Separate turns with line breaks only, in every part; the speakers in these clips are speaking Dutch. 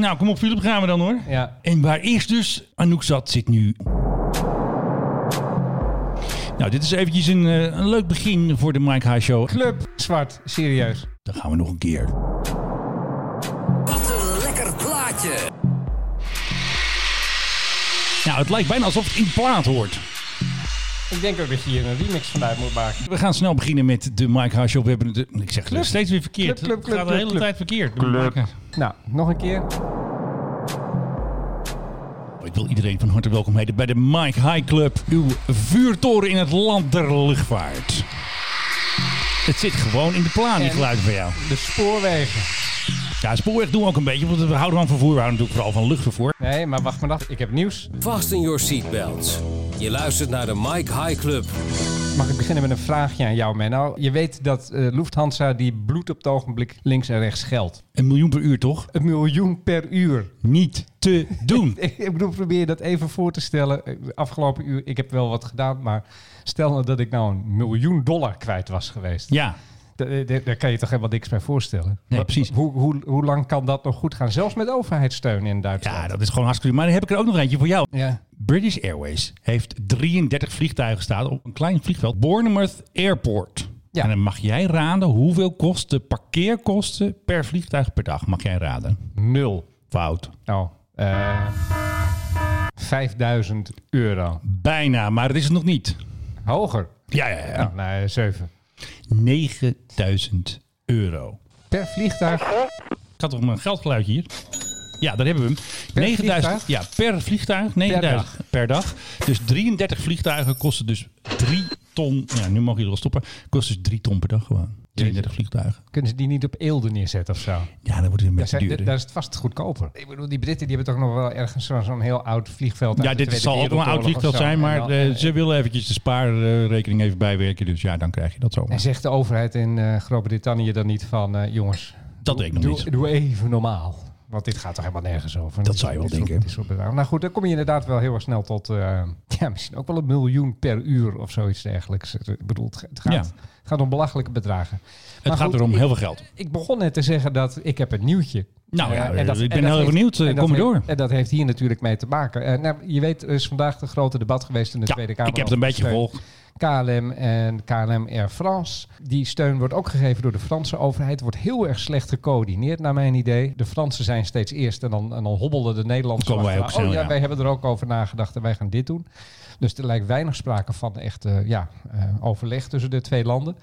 Nou, kom op Philip, gaan we dan hoor.
Ja.
En waar eerst dus Anouk zat, zit nu... Nou, dit is eventjes een, eh, een leuk begin voor de Mike High Show.
Club Zwart, serieus.
Dan gaan we nog een keer.
Wat een lekker plaatje.
Nou, het lijkt bijna alsof het in plaat hoort.
Ik denk ook dat je hier een remix vanuit moet maken.
We gaan snel beginnen met de Mike High Show. We hebben de, ik zeg het steeds weer verkeerd.
Club, club,
het gaat
club,
de hele
club.
tijd verkeerd.
Nou, nog een keer.
Oh, Ik wil iedereen van harte welkom heten bij de Mike High Club. Uw vuurtoren in het land der luchtvaart. Het zit gewoon in de plan, die
En-
geluiden van jou.
De spoorwegen.
Ja, spoorweg doen we ook een beetje, want we houden van vervoer. We houden natuurlijk vooral van luchtvervoer.
Nee, maar wacht maar af. Ik heb nieuws.
Vast in your seatbelts. Je luistert naar de Mike High Club.
Mag ik beginnen met een vraagje aan jou, Menno? Je weet dat eh, Lufthansa die bloed op het ogenblik links en rechts geldt.
Een miljoen per uur toch?
Een miljoen per uur.
Niet te doen.
Ik bedoel, probeer je dat even voor te stellen. Eh, De afgelopen uur, ik heb wel wat gedaan, maar stel nou dat ik nou een miljoen dollar kwijt was geweest.
Ja,
Da- da- da- Daar kan je toch helemaal niks bij voorstellen?
Nee,
Wa-
precies.
Hoe, hoe, hoe lang kan dat nog goed gaan? Zelfs met overheidssteun in Duitsland.
ja, dat is gewoon hartstikke Maar dan heb ik er ook nog eentje voor jou.
Ja.
British Airways heeft 33 vliegtuigen staan op een klein vliegveld, Bournemouth Airport.
Ja.
En dan mag jij raden hoeveel kost de parkeerkosten per vliegtuig per dag. Mag jij raden?
Nul.
Fout.
Nou, eh 5000 euro.
Bijna, maar het is het nog niet.
Hoger.
Ja, ja, ja.
Nou, nee, 7.
9000 euro.
Per vliegtuig.
Ik had toch een geldgeluidje hier? Ja, daar hebben we hem. 9000
vliegtuig?
ja, per vliegtuig, 9000 per, dag. Dus 33 vliegtuigen kosten dus 3 ton. Ja, nu mag je er wel stoppen. Kost dus 3 ton per dag gewoon. 33 vliegtuigen.
Kunnen ze die niet op Eelde neerzetten of zo?
Ja, dan wordt het een
Daar,
beetje
zijn,
duurder.
daar is het vast goedkoper. Ik bedoel, die Britten die hebben toch nog wel ergens zo'n zo'n heel oud vliegveld. uit
Ja,
de
dit
Tweede
zal ook wel een oud
Wereldoorlog
vliegveld
of zo.
zijn,
En
maar
dan-
eh,
en-
ze willen eventjes de spaarrekening even bijwerken. Dus ja, dan krijg je dat zo.
En zegt de overheid in eh, Groot-Brittannië dan niet van, eh, jongens,
Dat denk ik nog
doe,
niet.
doe even normaal. Want dit gaat toch helemaal nergens over.
Dat zou je wel
Dit soort-
denken.
dit soort bedragen. nou goed, dan kom je inderdaad wel heel erg snel tot, eh, ja, misschien ook wel een miljoen per uur of zoiets dergelijks. Ik bedoel, het, het gaat,
Ja.
het gaat om belachelijke bedragen.
Het gaat
goed,
erom
ik-
heel veel geld.
Ik begon net te zeggen dat ik heb een nieuwtje.
Nou
Eh,
ja,
en dat-
ik ben
en dat
heel
heeft-
benieuwd. Eh,
en dat
Kom maar
heeft-
door.
En dat heeft hier natuurlijk mee te maken. Eh, nou, je weet, er is vandaag een grote debat geweest in de
Ja,
Tweede Kamer.
ik heb het een
over
beetje
steun.
gevolgd.
KLM en KLM Air France. Die steun wordt ook gegeven door de Franse overheid. Wordt heel erg slecht gecoördineerd, naar mijn idee. De Fransen zijn steeds eerst en dan, en dan hobbelen de Nederlanders.
Komen wij
achteraan.
ook
oh
snel,
ja,
ja.
wij hebben er ook over nagedacht en wij gaan dit doen. Dus er lijkt weinig sprake van echt eh, ja, eh, overleg tussen de twee landen.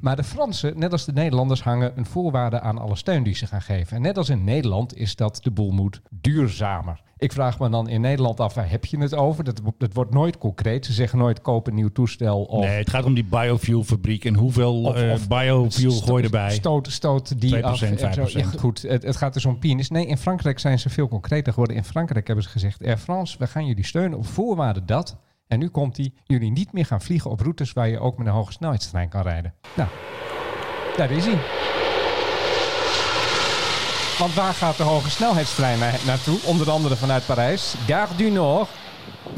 Maar de Fransen, net als de Nederlanders, hangen een voorwaarde aan alle steun die ze gaan geven. En net als in Nederland is dat de boel moet duurzamer. Ik vraag me dan in Nederland af, waar heb je het over? Dat, dat wordt nooit concreet. Ze zeggen nooit koop een nieuw toestel of...
Nee, het gaat om die biofuel fabriek en hoeveel
Of-
eh,
of-
biofuel gooi je erbij.
Stoot, stoot die
2%,
af. en zo.
5%.
Ja, goed, het, het gaat dus om pioniers. Nee, in Frankrijk zijn ze veel concreter geworden. In Frankrijk hebben ze gezegd, Air France, we gaan jullie steunen op voorwaarde dat... En nu komt die, jullie niet meer gaan vliegen op routes waar je ook met een hoge snelheidstrein kan rijden. Nou, daar is hij. Want waar gaat de hoge snelheidstrein na- naartoe? Onder andere vanuit Parijs. Gare du Nord.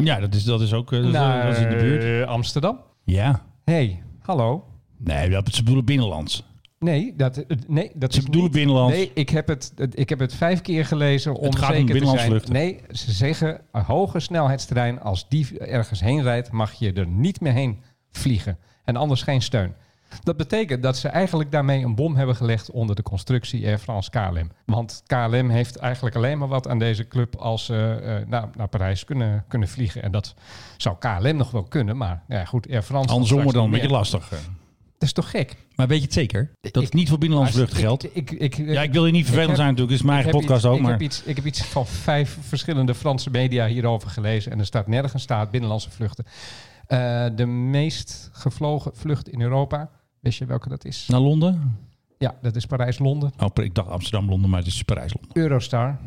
Ja, dat is, dat is ook eh, dat is-
Naar
dat is in de buurt.
eh, Amsterdam.
Ja.
Hé, hey, hallo.
Nee, dat, ze bedoelen binnenlands.
Nee, dat, het- nee, dat
Ze
is
bedoelen
niet-
binnenlands.
Nee, ik heb het, het- ik heb het vijf keer gelezen
gaat om
om zeker te zijn.
binnenlandsvluchten.
Nee, ze zeggen een hoge snelheidsterrein. Als die ergens heen rijdt, mag je er niet meer heen vliegen. En anders geen steun. Dat betekent dat ze eigenlijk daarmee een bom hebben gelegd onder de constructie Air France KLM. Want KLM heeft eigenlijk alleen maar wat aan deze club als ze eh, naar, naar Parijs kunnen, kunnen vliegen. En dat zou KLM nog wel kunnen, maar ja, goed, Air France...
Andersom
straks
wordt dan een
nog
beetje
meer.
lastig. eh.
Dat is toch gek?
Maar weet je het zeker? Dat het niet voor binnenlandse vluchten geldt.
Ik, ik, ik,
Ja, ik wil je niet vervelend
heb-
zijn natuurlijk. Het is mijn
Ik
eigen
heb
podcast
iets-
ook.
ik
Maar
Heb iets, ik heb iets van vijf verschillende Franse media hierover gelezen. En er staat nergens staat binnenlandse vluchten. Eh, de meest gevlogen vlucht in Europa. Wist je welke dat is?
naar Londen?
Ja, dat is Parijs-Londen.
Oh, ik dacht Amsterdam-Londen, maar het is Parijs-Londen.
Eurostar.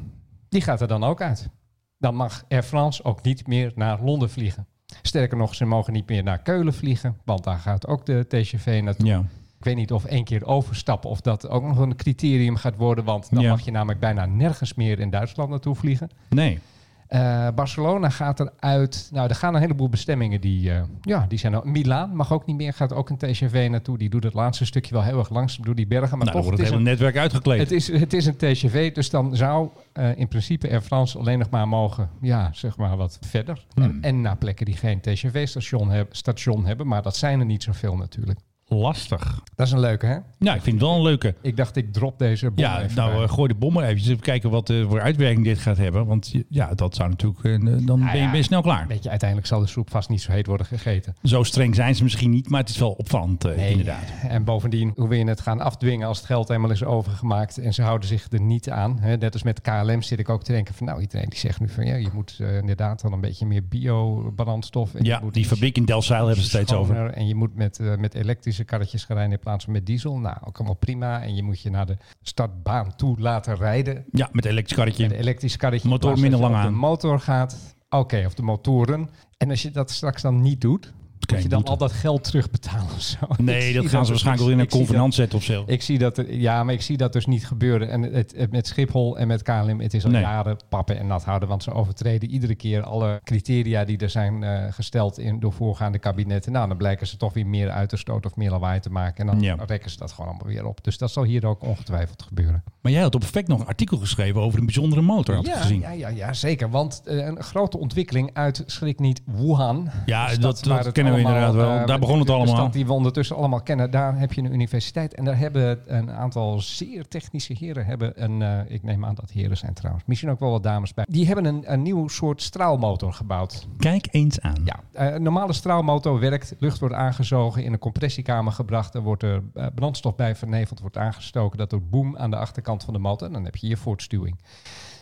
Die gaat er dan ook uit. Dan mag Air France ook niet meer naar Londen vliegen. Sterker nog, ze mogen niet meer naar Keulen vliegen. Want daar gaat ook de TGV naartoe.
Ja.
Ik weet niet of één keer overstappen of dat ook nog een criterium gaat worden. Want dan
Ja.
mag je namelijk bijna nergens meer in Duitsland naartoe vliegen.
Nee.
Eh, Barcelona gaat eruit. Nou, er gaan een heleboel bestemmingen die, eh, ja, die zijn. al- Milaan mag ook niet meer. Gaat ook een TGV naartoe. Die doet het laatste stukje wel heel erg langs door die bergen. Maar
nou, dan
toch,
wordt het
het is
hele
een,
netwerk uitgekleed.
het, is, het is een TGV. Dus dan zou eh, in principe Air France alleen nog maar mogen. Ja, zeg maar wat verder.
Hmm.
En, en naar plekken die geen TGV-station hebben, station hebben. Maar dat zijn er niet zoveel natuurlijk.
Lastig.
Dat is een leuke, hè?
Nou, ik vind het wel een leuke.
Ik dacht, ik drop deze. bom
Ja,
even
nou,
bij.
eh, gooi de bom maar eventjes. Even kijken wat eh, voor uitwerking dit gaat hebben. Want je- ja, dat zou natuurlijk... eh, dan ben je,
ja.
ben je snel klaar.
Weet je, uiteindelijk zal de soep vast niet zo heet worden gegeten.
Zo streng zijn ze misschien niet, maar het is wel opvallend, eh,
Nee.
inderdaad.
En bovendien, hoe wil je het gaan afdwingen als het geld eenmaal is overgemaakt en ze houden zich er niet aan. Hè? Net als met KLM zit ik ook te denken van nou, iedereen die zegt nu van ja, je moet eh, inderdaad dan een beetje meer bio-brandstof. en
Ja,
je moet
die
iets
fabriek in Delzijl hebben ze steeds over.
schoner En je moet met, eh, met elektrische karretjes gaan rijden in plaats van met diesel. Nou, ook allemaal prima. En je moet je naar de startbaan toe laten rijden.
Ja, met een elektrisch
Met een
karretje.
elektrisch karretje. in
Motor
plaats dat
minder
je
lang
op De
aan.
motor gaat. Oké, of de motoren. En als je dat straks dan niet doet, moet
Kijk,
je dan
boete.
al dat geld terugbetalen of zo. Ik
Nee,
zie
dat gaan ze waarschijnlijk wel in een
ik zie dat-
convenant zetten of zo.
ik zie dat, er- ja, maar ik zie dat dus niet gebeuren. En het, het- met Schiphol en met KLM, het is al
Nee.
jaren pappen en nat houden. Want ze overtreden iedere keer alle criteria die er zijn eh, gesteld in, door voorgaande kabinetten. Nou, dan blijken ze toch weer meer uit te stoten of meer lawaai te maken. En dan
Ja.
rekken ze dat gewoon allemaal weer op. Dus dat zal hier ook ongetwijfeld gebeuren.
Maar jij had op effect nog een artikel geschreven over een bijzondere motor, had ik
ja,
gezien.
ja, ja, ja, zeker. Want eh, een grote ontwikkeling uit, schrik niet, Wuhan.
Ja,
De stad
dat- dat
waar Dus het
kennen we inderdaad wel.
eh,
Daar begon het
de- De
allemaal.
stad die we ondertussen allemaal kennen. Daar heb je een universiteit. En daar hebben een aantal zeer technische heren... Hebben een, eh, ik neem aan dat heren zijn trouwens. Misschien ook wel wat dames bij. Die hebben een, een nieuw soort straalmotor gebouwd.
Kijk eens aan.
Ja, eh, een normale straalmotor werkt. Lucht wordt aangezogen, in een compressiekamer gebracht. Er wordt er eh, brandstof bij verneveld, wordt aangestoken. Dat doet boem aan de achterkant van de motor. En dan heb je hier voortstuwing.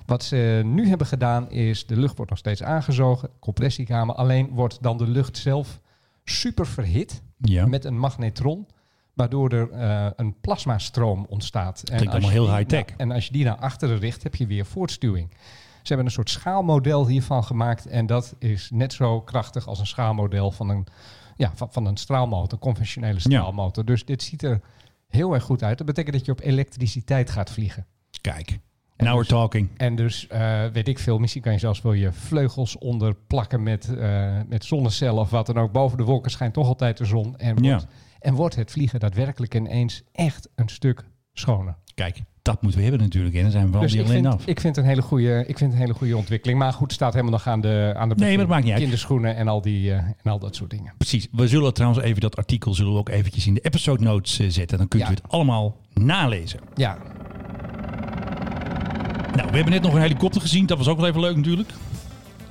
Wat ze nu hebben gedaan is, de lucht wordt nog steeds aangezogen. Compressiekamer. Alleen wordt dan de lucht zelf super verhit
Ja.
met een magnetron. Waardoor er eh, een plasmastroom ontstaat. En
Klinkt
als je
allemaal heel
die
high-tech.
naar- en als je die naar achteren richt, heb je weer voortstuwing. Ze hebben een soort schaalmodel hiervan gemaakt. En dat is net zo krachtig als een schaalmodel van een, ja, van, van een straalmotor, een conventionele straalmotor. Dus dit ziet er heel erg goed uit. Dat betekent dat je op elektriciteit gaat vliegen.
Kijk. Now we're talking.
En dus eh, weet ik veel, misschien kan je zelfs wel je vleugels onder plakken met, eh, met zonnecellen of wat dan ook. Boven de wolken schijnt toch altijd de zon. En
Ja.
wordt, en wordt het vliegen daadwerkelijk ineens echt een stuk schoner.
Kijk, dat moeten we hebben natuurlijk. En dan zijn we wel
dus
die
ik
alleen
vind,
af.
ik, vind een hele goede, ik vind een hele goede ontwikkeling. Maar goed, staat helemaal nog aan de, aan de
Nee, maar dat maakt niet uit.
kinderschoenen en al, die, eh, en al dat soort dingen.
Precies. We zullen trouwens even dat artikel zullen we ook eventjes in de episode notes eh, zetten. Dan kunt
Ja.
u het allemaal nalezen.
Ja,
Nou, we hebben net nog een helikopter gezien. Dat was ook wel even leuk natuurlijk.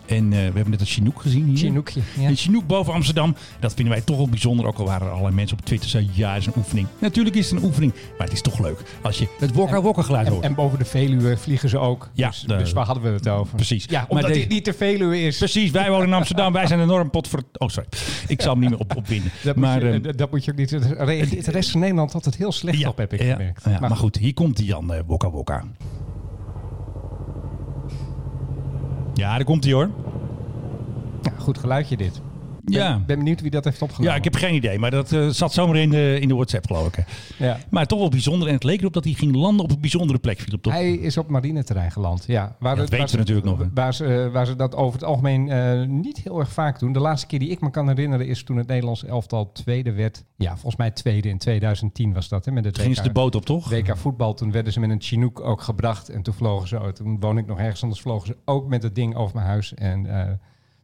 En eh, we hebben net een Chinook gezien hier.
Chinookje. Ja.
Een Chinook boven Amsterdam. Dat vinden wij toch wel bijzonder. Ook al waren er allerlei mensen op Twitter zeiden, ja, het is een oefening. Natuurlijk is het een oefening. Maar het is toch leuk als je het wokka-wokka geluid
En,
hoort.
en boven de Veluwe vliegen ze ook.
Ja,
dus,
de-
dus waar hadden we het over?
Precies.
Ja,
Maar
omdat
deze-
dit niet de Veluwe is.
Precies, wij wonen in Amsterdam. Wij zijn een enorm pot voor... Oh, sorry. Ik zal hem niet meer op, opwinden.
Dat,
maar,
moet je,
ehm,
eh, dat moet je ook niet. Reageert de rest van Nederland altijd heel slecht op, heb ik
ja,
gemerkt.
ja, maar, goed, hier komt die Jan eh, Wokka Wokka. Ja, daar komt hij hoor.
Ja, goed geluidje dit.
Ja.
Ben, ben benieuwd wie dat heeft opgenomen.
ja, ik heb geen idee, maar dat eh, zat zomaar in de, in de WhatsApp geloof ik. hè.
Ja.
Maar toch wel bijzonder. En het leek erop dat hij ging landen op een bijzondere plek. Philip, toch?
Hij is op marineterrein geland. Ja, waar
dat
het-
weten
waar
ze natuurlijk nog, hè.
Waar ze, eh, waar ze dat over het algemeen eh, niet heel erg vaak doen. De laatste keer die ik me kan herinneren is toen het Nederlands elftal tweede werd. Ja, volgens mij tweede in 2010 was dat. Hè, met het
Toen gingen ze
WK
de boot op, toch?
WK voetbal, toen werden ze met een Chinook ook gebracht. En toen vlogen ze, toen woon ik nog ergens anders, vlogen ze ook met dat ding over mijn huis. En eh,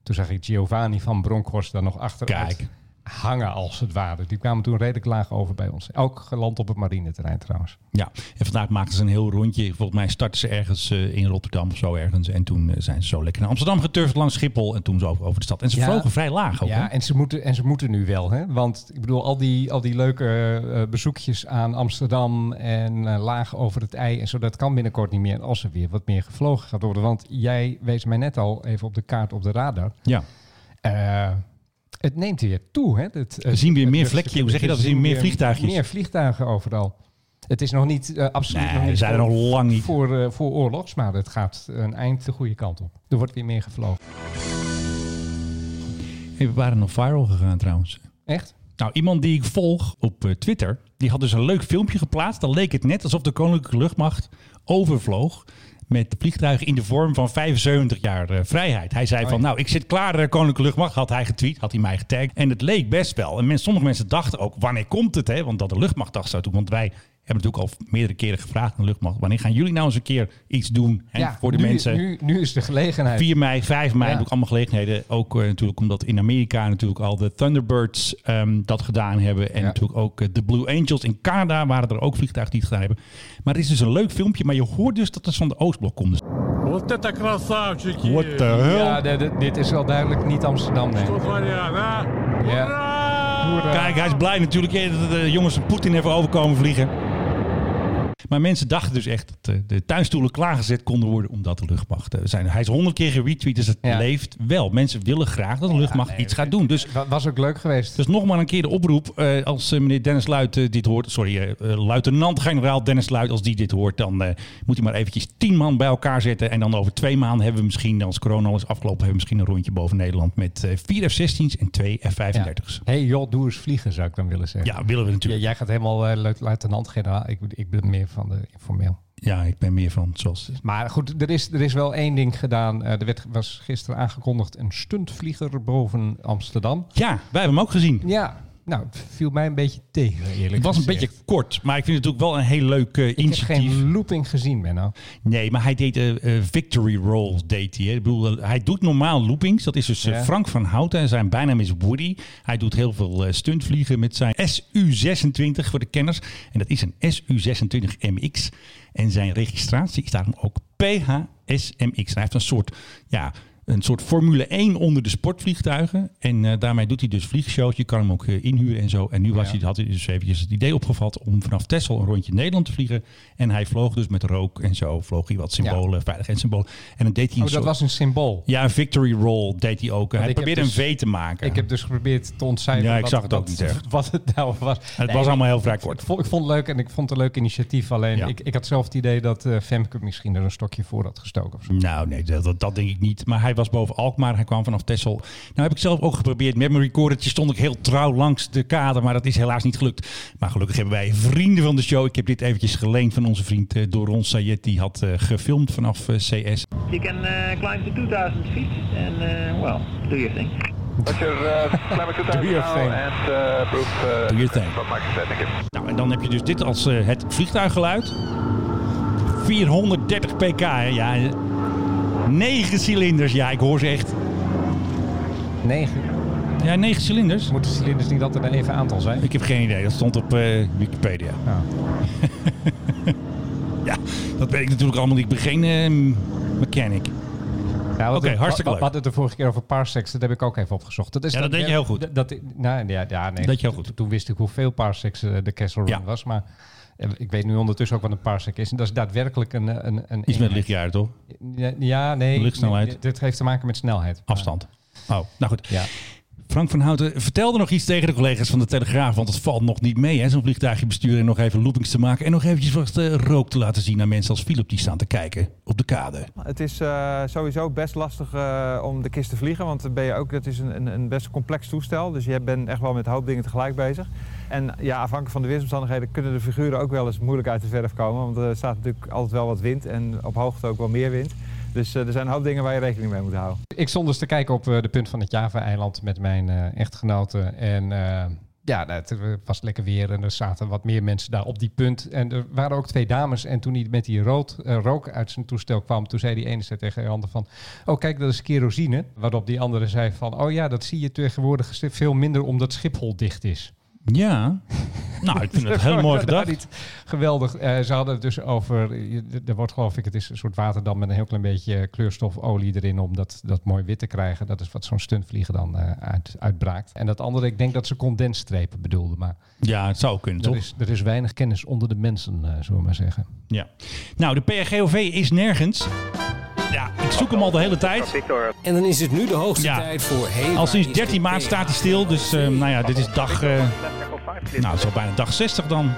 toen zag ik Giovanni van Bronckhorst daar nog achteruit
Kijk.
hangen als het ware. Die kwamen toen redelijk laag over bij ons. Ook geland op het marineterrein trouwens.
Ja, en vandaag maakten ze een heel rondje. Volgens mij startten ze ergens eh, in Rotterdam of zo ergens. En toen eh, zijn ze zo lekker naar Amsterdam geturfd langs Schiphol. En toen zo over, over de stad. En ze
Ja.
vlogen vrij laag ook. hè?
Ja, en ze moeten, en ze moeten nu wel. Hè? Want ik bedoel, al die, al die leuke eh, bezoekjes aan Amsterdam en eh, laag over het ei en zo, dat kan binnenkort niet meer als er weer wat meer gevlogen gaat worden. Want jij wees mij net al even op de kaart op de radar.
ja.
Eh, het neemt weer toe. Hè? Het,
We zien weer meer vlekjes. Hoe zeg je dat? We zien meer vliegtuigjes.
Meer vliegtuigen overal. Het is nog niet eh, absoluut nog
Nee,
niet
we zijn er nog
voor,
lang niet.
voor, eh, voor oorlogs, maar het gaat een eind de goede kant op. Er wordt weer meer gevlogen.
Hey, we waren nog viral gegaan trouwens.
Echt?
Nou, iemand die ik volg op eh, Twitter, die had dus een leuk filmpje geplaatst. Dan leek het net alsof de Koninklijke Luchtmacht overvloog met vliegtuigen in de vorm van 75 jaar eh, vrijheid. Hij
Oh,
zei van, nou, ik zit klaar, eh, Koninklijke Luchtmacht. Had hij getweet, had hij mij getagd. En het leek best wel. En men, sommige mensen dachten ook, wanneer komt het? Hè? Want dat de luchtmacht dacht zou doen. Want wij hebben natuurlijk al meerdere keren gevraagd aan de luchtmacht. Wanneer gaan jullie nou eens een keer iets doen hè,
Ja,
voor de
nu,
mensen?
Nu, nu is de gelegenheid.
4 mei, 5 mei,
Ja.
heb ik allemaal gelegenheden. Ook eh, natuurlijk omdat in Amerika natuurlijk al de Thunderbirds ehm, dat gedaan hebben. En
Ja.
natuurlijk ook eh, de Blue Angels in Canada waren er ook vliegtuigen die het gedaan hebben. Maar het is dus een leuk filmpje, maar je hoort dus dat het van de Oostblok komt. Dus
Вот это красавчики!
What the hell?
Ja, de- de- dit is wel duidelijk niet Amsterdam, nee.
Что творят, а?
Ja.
Ура!
Hoera.
Kijk, hij is blij natuurlijk eh, dat de jongens van Poetin even overkomen vliegen. Maar mensen dachten dus echt dat eh, de tuinstoelen klaargezet konden worden omdat de luchtmacht eh, zijn. Hij is honderd keer geretweet, dus het
Ja.
leeft wel. Mensen willen graag dat de luchtmacht iets gaat doen. Dus
Wa- was ook leuk geweest.
Dus nog maar een keer de oproep. eh, als eh, meneer Dennis Luit eh, dit hoort. Sorry, eh, eh, luitenant-generaal Dennis Luit. Als die dit hoort, dan eh, moet hij maar eventjes tien man bij elkaar zetten. En dan over twee maanden hebben we misschien, als corona al is afgelopen, hebben we misschien een rondje boven Nederland. Met eh, vier F-16's en twee
Ja.
F-35's. Ja.
hey, joh, doe eens vliegen, zou ik dan willen zeggen.
willen we
Ja,
natuurlijk.
jij gaat helemaal eh, leut- luitenant-generaal. Ik, ik ben meer van de informeel.
Ja, ik ben meer van zoals.
Maar goed, er is, er is wel één ding gedaan. Eh, er werd, was gisteren aangekondigd een stuntvlieger boven Amsterdam.
Ja, wij hebben hem ook gezien.
Ja, nou, het viel mij een beetje tegen, eerlijk
Het was een
gezegd.
beetje kort, maar ik vind het natuurlijk wel een heel leuk eh,
Ik heb
initiatief.
geen looping gezien, Menno. Oh,
Nee, maar hij deed eh, eh, victory rolls. Deed hij, hè. Ik bedoel, eh, hij doet normaal loopings. Dat is dus eh,
Ja.
Frank van Houten. En zijn bijnaam is Woody. Hij doet heel veel eh, stuntvliegen met zijn SU-26 voor de kenners. En dat is een SU-26MX. En zijn registratie is daarom ook PHSMX. En Hij heeft een soort, ja, een soort Formule 1 onder de sportvliegtuigen. En eh, daarmee doet hij dus vliegshows. Je kan hem ook eh, inhuren en zo. En nu was
Ja.
hij, had hij dus eventjes het idee opgevat om vanaf Texel een rondje Nederland te vliegen. En hij vloog dus met rook en zo. Vloog hij wat symbolen, veiligheidssymbolen. En dan deed hij een
Oh, dat
soort-
was een symbool.
Ja, een victory roll deed hij ook. Hij
ik heb
probeerde
dus-
een V te maken.
Ik heb dus geprobeerd te ontcijferen
Ja, ik
wat-
zag het ook
wat-
niet echt.
wat het nou was.
Het was allemaal heel vrij
Ik
kort.
vond, ik vond het leuk en ik vond het een leuk initiatief. Alleen
Ja.
ik, ik had zelf het idee dat eh, Femke misschien er een stokje voor had gestoken. Of zo.
Nou, nee, dat, dat, dat denk ik niet. Maar hij was boven Alkmaar, hij kwam vanaf Texel. Nou heb ik zelf ook geprobeerd. Met mijn recordertje stond ik heel trouw langs de kade, maar dat is helaas niet gelukt. Maar gelukkig hebben wij vrienden van de show. Ik heb dit eventjes geleend van onze vriend eh, Doron Sayed. Die had eh, gefilmd vanaf eh, CS.
You can uh, climb to 2,000 feet and, uh, well, do your thing.
Roger, uh, climb to
Do your
now
thing.
and uh, approve uh,
Do your thing.
what Michael said. Thank you.
Nou, en dan heb je dus dit als eh, het vliegtuiggeluid. 430 pk, hè? ja. 9 cilinders, ja, ik hoor ze echt.
Negen.
Ja, 9 cilinders?
Moeten cilinders niet altijd een even aantal zijn?
Ik heb geen idee, dat stond op eh, Wikipedia.
Ja.
Ja, dat weet ik natuurlijk allemaal niet. Ik ben geen eh, mechanic.
Ja, wat-
Oké,
wat-
hartstikke
wat-
leuk.
We hadden het de vorige keer over parsecs, dat heb ik ook even opgezocht. Dat is
Ja, dat deed je heel goed.
Dat, dat- nou, ja, ja, nee,
Dat deed je heel goed.
Toen wist ik hoeveel parsecs eh, de Kessel Run
Ja.
was, maar eh, ik weet nu ondertussen ook wat een parsec is. En dat is daadwerkelijk een... eh, een, een
Iets met lichtjaar, toch?
Ja, Ja, nee.
Luchtsnelheid.
nee, Dit heeft te maken met snelheid.
Afstand. Oh, nou goed.
Ja.
Frank van Houten vertelde nog iets tegen de collega's van de Telegraaf. Want het valt nog niet mee, hè? Zo'n vliegtuigje besturen en nog even loopings te maken. En nog eventjes wat eh, rook te laten zien aan mensen als Philip die staan te kijken op de kade.
Het is eh, sowieso best lastig eh, om de kist te vliegen, want dan ben je ook, dat is een, een, een best complex toestel. Dus je bent echt wel met een hoop dingen tegelijk bezig. En ja, afhankelijk van de weersomstandigheden kunnen de figuren ook wel eens moeilijk uit de verf komen. Want er staat natuurlijk altijd wel wat wind en op hoogte ook wel meer wind. Dus eh, er zijn een hoop dingen waar je rekening mee moet houden.
Ik stond dus te kijken op eh, de punt van het Java-eiland met mijn eh echtgenoten. En eh, ja, nou, het was lekker weer en er zaten wat meer mensen daar op die punt. En er waren ook twee dames. En toen hij met die rood, eh, rook uit zijn toestel kwam, toen zei die ene zei tegen de ander van... Oh, kijk, dat is kerosine. Waarop die andere zei van... Oh ja, dat zie je tegenwoordig veel minder omdat Schiphol dicht is.
Ja. nou, ik vind het heel mooi
Dat
gedacht.
is Geweldig. Eh, ze hadden het dus over, je- er wordt geloof ik, het is een soort waterdam met een heel klein beetje kleurstofolie erin om dat, dat mooi wit te krijgen. Dat is wat zo'n stuntvlieger dan eh, uit, uitbraakt. En dat andere, ik denk dat ze condensstrepen bedoelden, maar
Ja, het zou kunnen,
er
toch?
is, er is weinig kennis onder de mensen, eh, zullen we maar zeggen.
Ja. Nou, de PRGOV is nergens. Ja, ik zoek hem al de hele tijd.
En dan is het nu de hoogste
Ja.
tijd voor heel.
Al sinds 13 maart staat dus, eh, nou, hij stil. Dus eh, nou ja, dit is dag... eh, nou, het is al bijna dag 60 dan.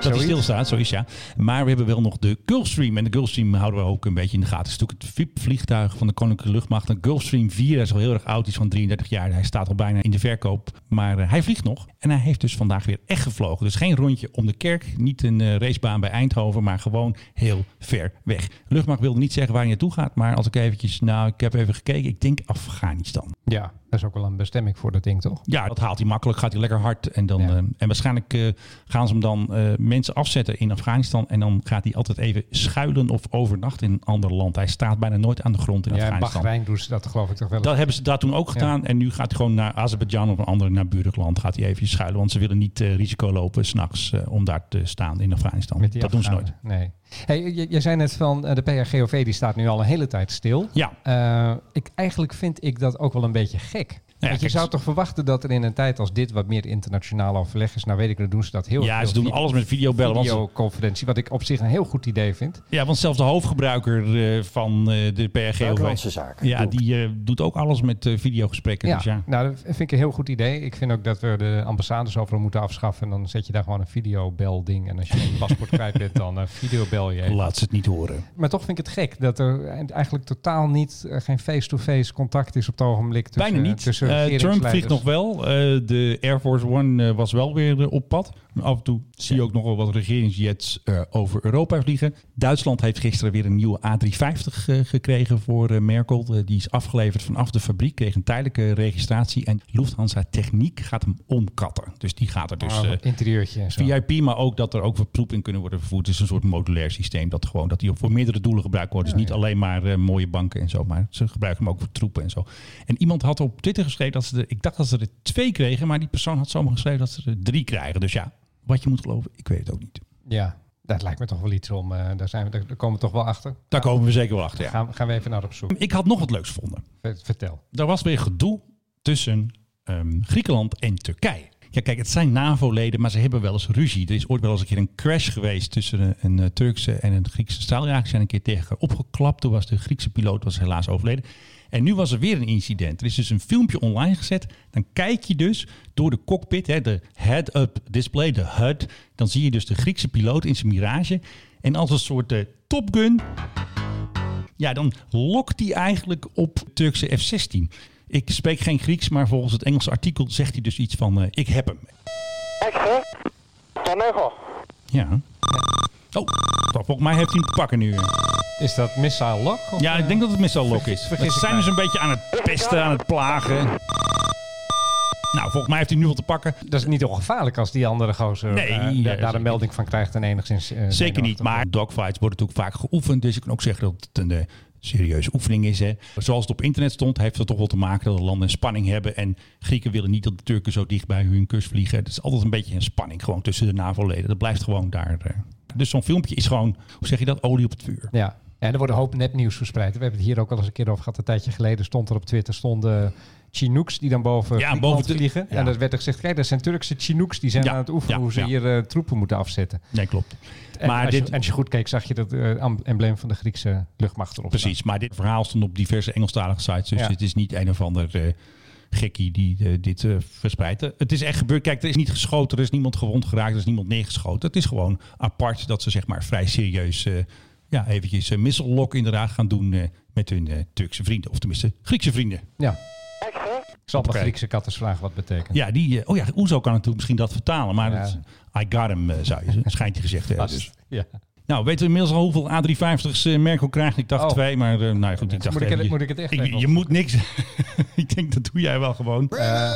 Dat hij
Zoiets.
stilstaat, zo is ja. Maar we hebben wel nog de Gulfstream. En de Gulfstream houden we ook een beetje in de gaten. Het is natuurlijk het VIP-vliegtuig van de Koninklijke Luchtmacht. Een Gulfstream 4, hij is al heel erg oud, hij is van 33 jaar. Hij staat al bijna in de verkoop. Maar eh, hij vliegt nog. En hij heeft dus vandaag weer echt gevlogen. Dus geen rondje om de kerk. Niet een eh, racebaan bij Eindhoven, maar gewoon heel ver weg. De luchtmacht wilde niet zeggen waar hij naartoe gaat. Maar als ik eventjes, nou, ik heb even gekeken. Ik denk Afghanistan.
Ja, dat is ook wel een bestemming voor dat ding, toch?
Ja, dat haalt hij makkelijk, gaat hij lekker hard. En, dan,
Ja.
eh, en waarschijnlijk eh, gaan ze hem dan eh, mensen afzetten in Afghanistan. En dan gaat hij altijd even schuilen of overnachten in een ander land. Hij staat bijna nooit aan de grond in
Ja, in
Afghanistan.
Bahrein doen ze dat geloof ik toch wel.
Dat hebben ze daar toen ook gedaan. En nu gaat hij gewoon naar Azerbeidzjan of een ander naburig land. Gaat hij even schuilen. Want ze willen niet eh, risico lopen s'nachts eh om daar te staan in Afghanistan.
met die
Dat doen ze nooit.
Afghanen. Nee. Hey, je, je zei net van eh, de PHGOV die staat nu al een hele tijd stil.
Ja,
Eh, ik, eigenlijk vind ik dat ook wel een beetje gek. Want je
kijk,
zou
ze-
toch verwachten dat er in een tijd als dit wat meer internationaal overleg is. Nou weet ik, dan doen ze dat heel
ja
veel
ze doen
via
alles met videobellen. want ze-
videoconferentie. Wat ik op zich een heel goed idee vind.
ja, want zelfs de hoofdgebruiker eh, van eh, de PRGOV...
Buitenlandse zaken.
Ja, die eh, doet ook alles met eh, videogesprekken.
Ja,
Dus ja.
nou, dat vind ik een heel goed idee. Ik vind ook dat we de ambassades overal moeten afschaffen. En dan zet je daar gewoon een videobel ding. En als je een paspoort kwijt bent, dan eh, videobel je. even.
Laat ze het niet horen.
Maar toch vind ik het gek dat er eigenlijk totaal niet, eh, geen face-to-face contact is op het ogenblik. Tussen,
Bijna niet.
Tussen
Eh, Trump
regeringsleiders.
vliegt nog wel. Eh, de Air Force One eh, was wel weer eh, op pad. Af en toe zie je ook nog wel wat regeringsjets eh, over Europa vliegen. Duitsland heeft gisteren weer een nieuwe A350 eh, gekregen voor eh, Merkel. Eh, die is afgeleverd vanaf de fabriek. Kreeg een tijdelijke registratie. En Lufthansa Techniek gaat hem omkatten. Dus die gaat er dus...
Ah,
eh,
interieurtje en zo.
VIP, maar ook dat er ook verproep in kunnen worden vervoerd. Het is een soort modulair systeem dat gewoon dat die voor meerdere doelen gebruikt wordt. dus niet alleen maar eh, mooie banken en zo, maar ze gebruiken hem ook voor troepen en zo. En iemand had op Twitter geschreven dat ze er, ik dacht dat ze er twee kregen, maar die persoon had zomaar geschreven dat ze er drie krijgen. Dus ja, wat je moet geloven, ik weet het ook niet.
Ja, dat lijkt me toch wel iets om. eh, daar, zijn we, daar daar komen we toch wel achter.
Daar komen we zeker wel achter. Ja.
Gaan, gaan we even naar op zoek.
Ik had nog wat leuks gevonden.
Ver- Vertel.
Er was weer gedoe tussen ehm, Griekenland en Turkije. Ja, kijk, het zijn NAVO-leden, maar ze hebben wel eens ruzie. Er is ooit wel eens een keer een crash geweest tussen een, een eh, Turkse en een Griekse straaljagers. Ze zijn een keer tegen elkaar opgeklapt. Toen was de Griekse piloot was helaas overleden. En nu was er weer een incident. Er is dus een filmpje online gezet. Dan kijk je dus door de cockpit, hè, de head-up display, de HUD. Dan zie je dus de Griekse piloot in zijn mirage. En als een soort eh, Top Gun ja, dan lokt hij eigenlijk op Turkse F-16. Ik spreek geen Grieks, maar volgens het Engelse artikel zegt hij dus iets van: eh, Ik heb hem. Ja. Oh, volgens mij heeft hij hem te pakken nu. eh.
Is dat Missile Lock? of,
Ja,
eh,
ik denk dat het meestal lok is.
vergis
Ze
ik
zijn
mij.
dus een beetje aan het pesten, aan het plagen. Nou, volgens mij heeft hij nu wel te pakken.
Dat is niet ongevaarlijk als die andere gozer
Nee,
eh, da-
ja,
daar
zeker
een melding van krijgt en enigszins... eh,
Zeker niet,
zenuwachtig
maar dogfights worden natuurlijk vaak geoefend. Dus ik kan ook zeggen dat het een eh, serieuze oefening is. Hè. Zoals het op internet stond, heeft het toch wel te maken dat de landen een spanning hebben. En Grieken willen niet dat de Turken zo dicht bij hun kust vliegen. Het is altijd een beetje een spanning gewoon tussen de NAVO-leden. Dat blijft gewoon daar. eh. Dus zo'n filmpje is gewoon, hoe zeg je dat, olie op het vuur.
wordt. Ja. En er wordt een hoop nepnieuws verspreid. We hebben het hier ook al eens een keer over gehad. Een tijdje geleden stond er op Twitter stonden Chinooks die dan boven
Ja,
Griekenland
boven de-
vliegen.
ja.
En dat werd er gezegd, kijk, dat zijn Turkse Chinooks die zijn
Ja,
aan het oefenen
ja,
hoe ze
ja.
hier eh, troepen moeten afzetten.
Nee, klopt.
En,
Maar
als,
dit-
je, en als je goed keek zag je dat eh, am- embleem van de Griekse luchtmacht erop.
Precies, maar dit verhaal stond op diverse Engelstalige sites. Dus
Ja.
het is niet een of ander eh, gekkie die eh, dit eh, verspreidt. Eh, Het is echt gebeurd. Kijk, er is niet geschoten, er is niemand gewond geraakt, er is niemand neergeschoten. Het is gewoon apart dat ze zeg maar vrij serieus... eh, ja, eventjes een missile lock inderdaad gaan doen eh, met hun eh, Turkse vrienden. Of tenminste, Griekse vrienden.
Ja. Ik zal op de
Oké.
Griekse katten vragen wat het betekent.
Ja, die... eh, oh ja, Oezo kan natuurlijk misschien dat vertalen. Maar
Ja.
dat, I got him, eh, zou je schijnt hij gezegd te hebben. Dus.
Ja.
Nou, weten we inmiddels al hoeveel A350's eh, Merkel krijgt? Ik dacht
Oh.
twee, maar eh, nou ja, goed, ik dacht
Moet ik
even,
het-
je-
moet ik het echt
ik-
even
Je
opzoeken?
moet niks. ik denk dat doe jij wel gewoon. Eh,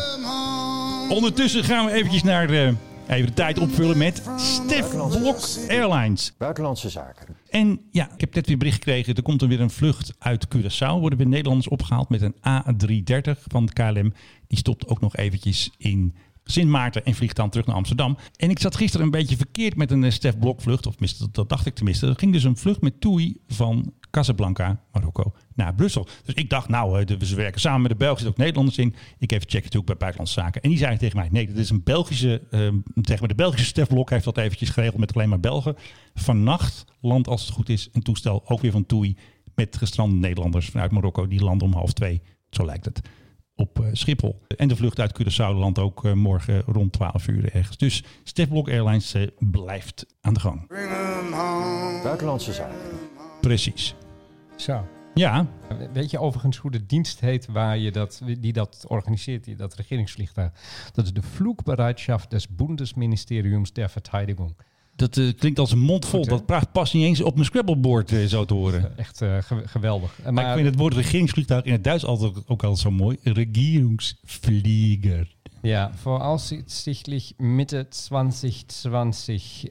Ondertussen gaan we eventjes naar eh, even de tijd opvullen met Stef Blok Airlines.
Buitenlandse zaken.
En ja, ik heb net weer bericht gekregen. Er komt er weer een vlucht uit Curaçao. Worden weer Nederlanders opgehaald met een A330 van de KLM. Die stopt ook nog eventjes in Sint Maarten en vliegt dan terug naar Amsterdam. En ik zat gisteren een beetje verkeerd met een eh, Stef Blok vlucht. Of tenminste, dat- dat dacht ik tenminste. Er ging dus een vlucht met TUI van Casablanca, Marokko, naar Brussel. Dus ik dacht, nou, eh, de- we werken samen met de Belgen, er zitten ook Nederlanders in. Ik even checken natuurlijk bij Buitenlandse Zaken. En die zeiden tegen mij, nee, dit is een Belgische, eh, zeg maar de Belgische Stef Blok heeft dat eventjes geregeld met alleen maar Belgen. Vannacht landt, als het goed is, een toestel ook weer van TUI met gestrande Nederlanders vanuit Marokko. Die landen om half twee, zo lijkt het, op eh, Schiphol. En de vlucht uit Curaçao landt ook eh, morgen rond 12 uur ergens. Dus Stefblok Airlines eh, blijft aan de gang.
Buitenlandse zaken.
Precies.
Zo.
Ja,
Weet je overigens hoe de dienst heet waar je dat, die dat organiseert, die, dat regeringsvliegtuig? Dat is de Flugbereitschaft des Bundesministeriums der Verteidigung.
dat eh, klinkt als een mond vol.
Goed, hè?
dat praat past niet eens op mijn Scrabbleboard eh, zo te horen.
Echt eh, ge- geweldig. Eh,
Maar ik vind het woord regeringsvliegtuig in het Duits altijd, ook altijd zo mooi. Regierungsvlieger.
Ja, voraussichtlich Mitte 2020 äh,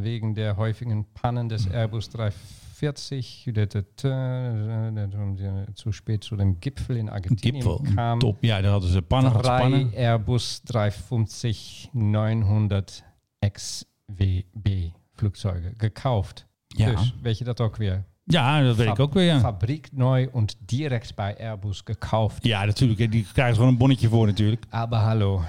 wegen der häufigen Pannen des Airbus 340 äh, zu spät zu dem Gipfel in Argentinien
Gipfel.
kam.
Top. Ja, daar hadden ze pannen
Drei
gespannen.
Airbus 350 900 XWB Flugzeuge gekauft.
Ja.
Dus, weet je dat ook weer?
ja, dat weet ik ook weer. Ja.
Fabriek neu und direkt bij Airbus gekauft.
Ja, natuurlijk. hè. Die krijgen ze gewoon een bonnetje voor natuurlijk.
Aber hallo.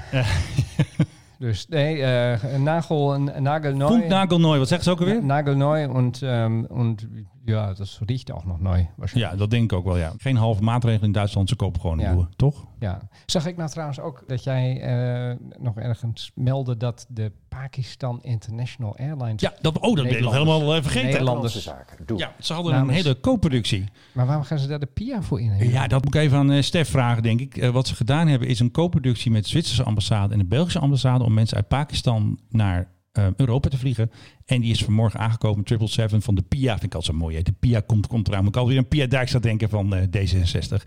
dus nee, eh, Nagel, Nagelneu.
Punkt Nagelnooi, wat zeggen ze ook alweer?
Nagelneu und, ähm, und ja, das riecht auch noch neu wahrscheinlich.
Ja, dat denk ik ook wel, ja. Geen halve maatregelen in Duitsland, ze kopen gewoon een
Ja.
nieuwe, toch?
Ja. Zag ik nou trouwens ook dat jij eh, nog ergens meldde dat de Pakistan International Airlines...
Ja, dat, oh, dat ben ik nog
Nederlanders.
helemaal eh, vergeten.
Nederland-
Buitenlandse zaken. Doe.
Ja, ze hadden
Namens-
een hele co-productie.
Maar waarom gaan ze daar de PIA voor innemen?
Ja, dat moet ik even aan eh, Stef vragen, denk ik. Eh, wat ze gedaan hebben is een co-productie met de Zwitserse ambassade en de Belgische ambassade om mensen uit Pakistan naar eh, Europa te vliegen. En die is vanmorgen aangekomen, 777 van de PIA. Vind ik altijd zo mooi. hè. De PIA komt, komt eraan. Moet ik alweer aan PIA Dijkstra denken van eh, D66.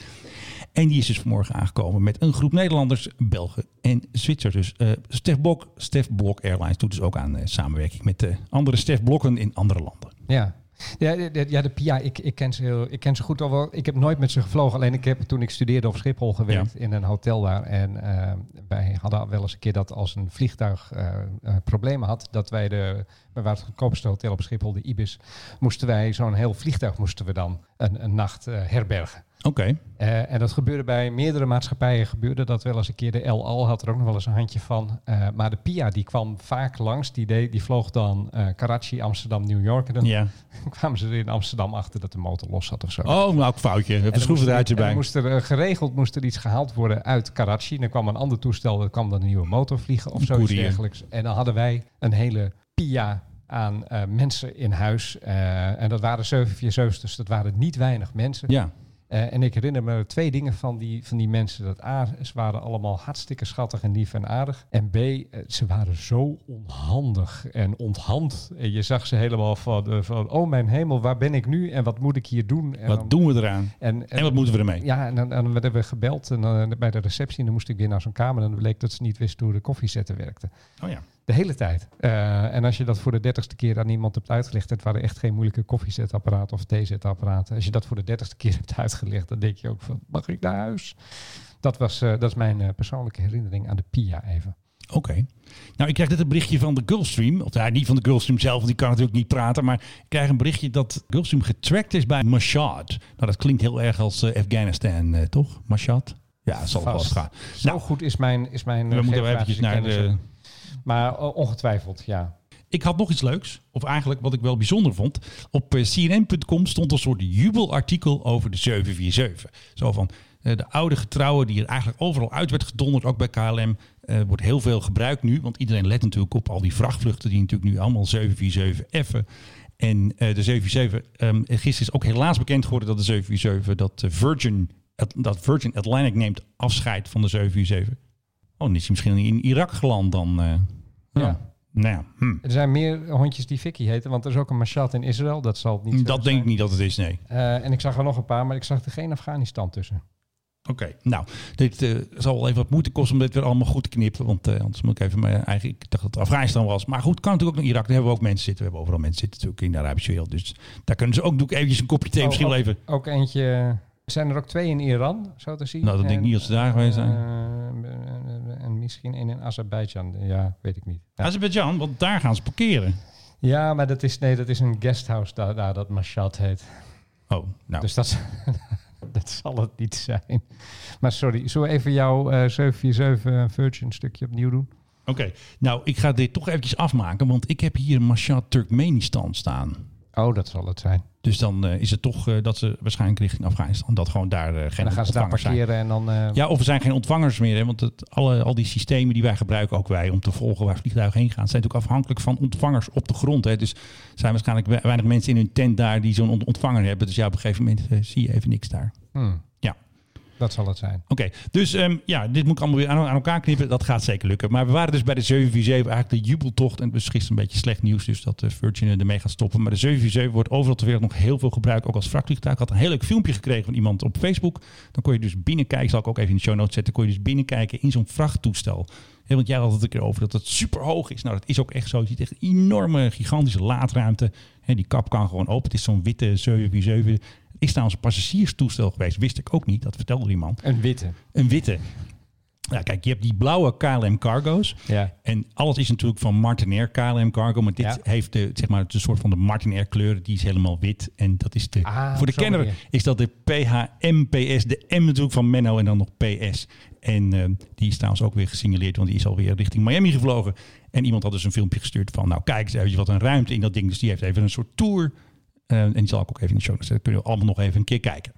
En die is dus vanmorgen aangekomen met een groep Nederlanders, Belgen en Zwitsers. Dus eh Stef Blok, Stef Blok Airlines doet dus ook aan eh, samenwerking met eh, andere Stef Blokken in andere landen.
Ja. Ja, de- de- ja, de PIA, ik, ik, ken ze heel, ik ken ze goed al wel. Ik heb nooit met ze gevlogen. Alleen ik heb toen ik studeerde op Schiphol gewerkt in een hotel daar. En eh, wij hadden wel eens een keer dat als een vliegtuig eh, eh, problemen had, dat wij de, wij waren het goedkoopste hotel op Schiphol, de Ibis, moesten wij zo'n heel vliegtuig moesten we dan een, een nacht eh, herbergen.
Oké,
Eh, en dat gebeurde bij meerdere maatschappijen. Gebeurde dat wel eens een keer. De El Al had er ook nog wel eens een handje van. Eh, maar de PIA die kwam vaak langs. Die, deed, die vloog dan eh, Karachi, Amsterdam, New York. En dan
ja.
kwamen ze er in Amsterdam achter dat de motor los zat of zo.
Oh, nou, foutje. Even
En dan moest er-
schroevendraadje
en dan
bij.
Moest er, eh, geregeld moest er iets gehaald worden uit Karachi. En dan kwam een ander toestel, er kwam dan een nieuwe motor vliegen of
Een
zoiets
koerier.
dergelijks. En dan hadden wij een hele pia aan eh, mensen in huis. Eh, en dat waren 747's, dus dat waren niet weinig mensen.
Ja.
Eh, en ik herinner me twee dingen van die, van die mensen. Dat A, ze waren allemaal hartstikke schattig en lief en aardig. En B, eh, ze waren zo onhandig en onthand. En je zag ze helemaal van, eh, van, oh mijn hemel, waar ben ik nu en wat moet ik hier doen? En
Wat
dan-
doen we eraan?
En,
En wat moeten we ermee?
Ja, en dan, en dan werden we gebeld en dan, eh, bij de receptie. En dan moest ik weer naar zo'n kamer. En dan bleek dat ze niet wist hoe de koffiezetten werkte.
Oh ja.
De hele tijd. Eh, en als je dat voor de dertigste keer aan iemand hebt uitgelegd, het waren echt geen moeilijke koffiezetapparaten of theezetapparaten. Als je dat voor de dertigste keer hebt uitgelegd, dan denk je ook van, mag ik naar huis? Dat, was, eh, dat is mijn eh, persoonlijke herinnering aan de PIA even.
Oké. Nou, ik krijg net een berichtje van de Gulfstream. Of ja, niet van de Gulfstream zelf, want die kan natuurlijk niet praten. Maar ik krijg een berichtje dat Gulfstream getracked is bij Mashhad. Nou, dat klinkt heel erg als eh, Afghanistan, eh, toch? Mashhad? Ja, dat zal wel
Vast.
gaan.
Zo
Nou,
goed is mijn, is mijn eh,
we moeten even
geografische
eventjes naar
kennis.
de...
Maar eh, ongetwijfeld, ja.
Ik had nog iets leuks, of eigenlijk wat ik wel bijzonder vond. Op eh, cnn.com stond een soort jubelartikel over de 747. Zo van eh, de oude getrouwe die er eigenlijk overal uit werd gedonderd, ook bij KLM. eh, wordt heel veel gebruikt nu, want iedereen let natuurlijk op al die vrachtvluchten die natuurlijk nu allemaal 747 effen. En eh, de 747, ehm, gisteren is ook helaas bekend geworden dat de 747, dat eh, Virgin, dat Virgin Atlantic neemt afscheid van de 747. Oh, dan is hij misschien in Irak geland dan. eh.
Ja.
Ja. Nou ja, hm.
Er zijn meer hondjes die Vicky heten, want er is ook een Mashat in Israël. Dat zal het niet
Dat denk ik niet dat het is, nee.
Eh, en ik zag er nog een paar, maar ik zag er geen Afghanistan tussen.
Oké, nou, dit eh, zal wel even wat moeite kosten om dit weer allemaal goed te knippen. Want eh, anders moet ik even mijn eigen... Ik dacht dat het Afghanistan was. Maar goed, kan natuurlijk ook naar Irak. Daar hebben we ook mensen zitten. We hebben overal mensen zitten natuurlijk in de Arabische wereld. Dus daar kunnen ze ook... Doe ik eventjes een kopje thee
Oh,
misschien wel even.
Ook eentje. Zijn er ook twee in Iran, zo te zien?
Nou, dat denk ik niet dat ze daar geweest zijn.
Eh, en misschien één in Azerbeidzjan. Ja, weet ik niet. Ja,
Azerbeidzjan, want daar gaan ze parkeren.
Ja, maar dat is, nee, dat is een guesthouse daar, daar dat Mashat heet.
Oh, nou.
Dus dat, dat zal het niet zijn. Maar sorry, zullen we even jouw eh 747 Virgin stukje opnieuw doen?
Oké, nou, ik ga dit toch eventjes afmaken. Want ik heb hier Mashhad Turkmenistan staan.
Oh, dat zal het zijn.
Dus dan eh, is het toch eh, dat ze waarschijnlijk richting Afghanistan dat gewoon daar eh,
En
geen
dan gaan ze daar
ontvangers zijn.
parkeren en dan... eh,
Ja, of er zijn geen ontvangers meer. Hè? Want het, alle, al die systemen die wij gebruiken, ook wij, om te volgen waar vliegtuigen heen gaan, zijn natuurlijk afhankelijk van ontvangers op de grond. Hè? Dus er zijn waarschijnlijk we- weinig mensen in hun tent daar die zo'n ont- ontvanger hebben. Dus ja, op een gegeven moment eh, zie je even niks daar.
hmm,
Ja.
Dat zal het zijn.
Oké, dus ehm, ja, dit moet ik allemaal weer aan, aan elkaar knippen. Dat gaat zeker lukken. Maar we waren dus bij de 747 eigenlijk de jubeltocht. En het was gisteren een beetje slecht nieuws, dus dat eh, Virgin ermee gaat stoppen. Maar de 747 wordt overal ter wereld nog heel veel gebruikt, ook als vrachtvliegtuig. Ik had een heel leuk filmpje gekregen van iemand op Facebook. Dan kon je dus binnenkijken, zal ik ook even in de show notes zetten. Kon je dus binnenkijken in zo'n vrachttoestel. Hè, Want jij had het een keer over dat het super hoog is. Nou, dat is ook echt zo. Je ziet echt een enorme, gigantische laadruimte. Hè, die kap kan gewoon open. Het is zo'n witte 747. Is trouwens een passagierstoestel geweest. Wist ik ook niet. Dat vertelde die man.
Een witte.
Een witte. Ja, kijk, je hebt die blauwe KLM cargo's.
Ja.
En alles is natuurlijk van Martin Air KLM cargo. Maar dit
Ja.
heeft de, zeg maar, de soort van de Martin Air kleur. Die is helemaal wit. En dat is de...
Ah,
voor de
op zo'n
kenner
manier.
is dat de PHMPS. De M natuurlijk van Menno en dan nog PS. En eh, die is trouwens ook weer gesignaleerd. Want die is alweer richting Miami gevlogen. En iemand had dus een filmpje gestuurd van... Nou, kijk eens even wat een ruimte in dat ding. Dus die heeft even een soort tour. Eh, en die zal ik ook even in de show zetten. Kunnen we allemaal nog even een keer kijken.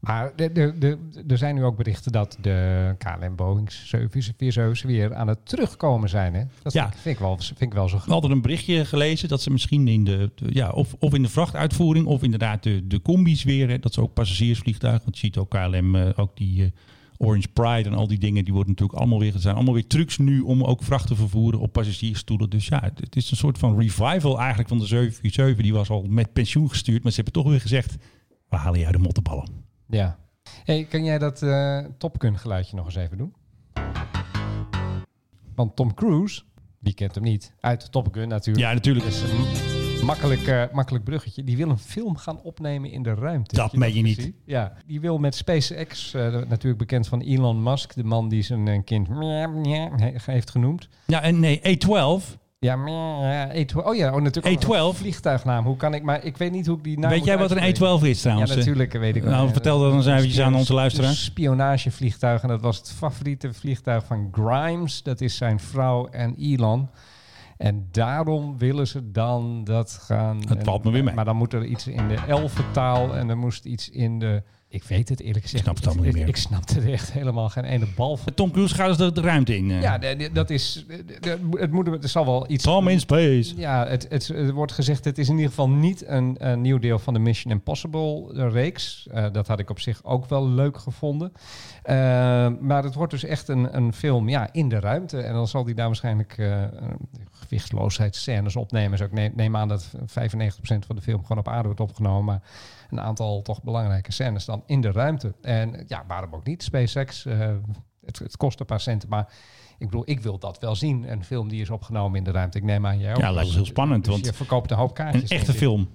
Maar er- er- er- er zijn nu ook berichten dat de KLM Boeing 747's weer aan het terugkomen zijn. Hè? Dat
Ja.
vind, ik, vind, ik wel, vind ik wel zo
We hadden een berichtje gelezen dat ze misschien in de, de- ja, of, of in de vrachtuitvoering of inderdaad de, de combi's weer. Hè, dat ze ook passagiersvliegtuigen. Want je ziet ook KLM, eh, ook die eh, Orange Pride en al die dingen. Die worden natuurlijk allemaal weer, het zijn allemaal weer trucs nu om ook vracht te vervoeren op passagiersstoelen. Dus ja, het, het is een soort van revival eigenlijk van de 747. Die was al met pensioen gestuurd. Maar ze hebben toch weer gezegd, we halen jou de mottenballen.
Ja. Hey, kan jij dat eh Top Gun geluidje nog eens even doen? Want Tom Cruise, die kent hem niet, uit Top Gun natuurlijk.
Ja, natuurlijk.
Dus een makkelijk, eh, makkelijk bruggetje. Die wil een film gaan opnemen in de ruimte.
Dat
Heb
meen je niet.
gezien? Ja, die wil met SpaceX, eh, natuurlijk bekend van Elon Musk, de man die zijn eh, kind meh, meh, he- heeft genoemd.
Ja, en nee, A12.
Ja, meh, ja, A12. Oh ja, oh, natuurlijk. ook nog
A12.
een Vliegtuignaam. Hoe kan ik, maar ik weet niet hoe ik die naam
Weet
moet
jij wat een
uitspreken.
A12 is trouwens?
Ja, natuurlijk weet ik wel.
Nou,
Ja,
vertel dat eens eventjes aan onze
een
luisteraar.
Spionagevliegtuig. En dat was het favoriete vliegtuig van Grimes. Dat is zijn vrouw en Elon. En daarom willen ze dan dat gaan.
Het
en-
valt me weer mee.
Maar dan moet er iets in de elfentaal en er moest iets in de. Ik weet het eerlijk gezegd.
snap het allemaal niet
Ik,
meer.
ik snap er echt helemaal geen ene bal van.
Tom Cruise gaat dus de, de ruimte in. eh.
Ja, de- de- dat is. de- de- Het, moet, het zal wel iets.
Tom in space.
Ja, het, het, er wordt gezegd, het is in ieder geval niet een, een nieuw deel van de Mission Impossible eh, reeks. Eh, dat had ik op zich ook wel leuk gevonden. Eh, maar het wordt dus echt een, een film ja, in de ruimte. En dan zal die daar waarschijnlijk eh eh, gewichtloosheidsscènes opnemen. Dus ik neem, neem aan dat 95% van de film gewoon op aarde wordt opgenomen. Maar een aantal toch belangrijke scènes dan in de ruimte. En eh, ja, waarom ook niet? SpaceX, eh, het, het kost een paar centen, maar... Ik bedoel, ik wil dat wel zien. Een film die is opgenomen in de ruimte. Ik neem aan jij ook.
Ja, lijkt me heel spannend,
Dus
want
je verkoopt een hoop kaartjes.
Een echte
denk ik.
film.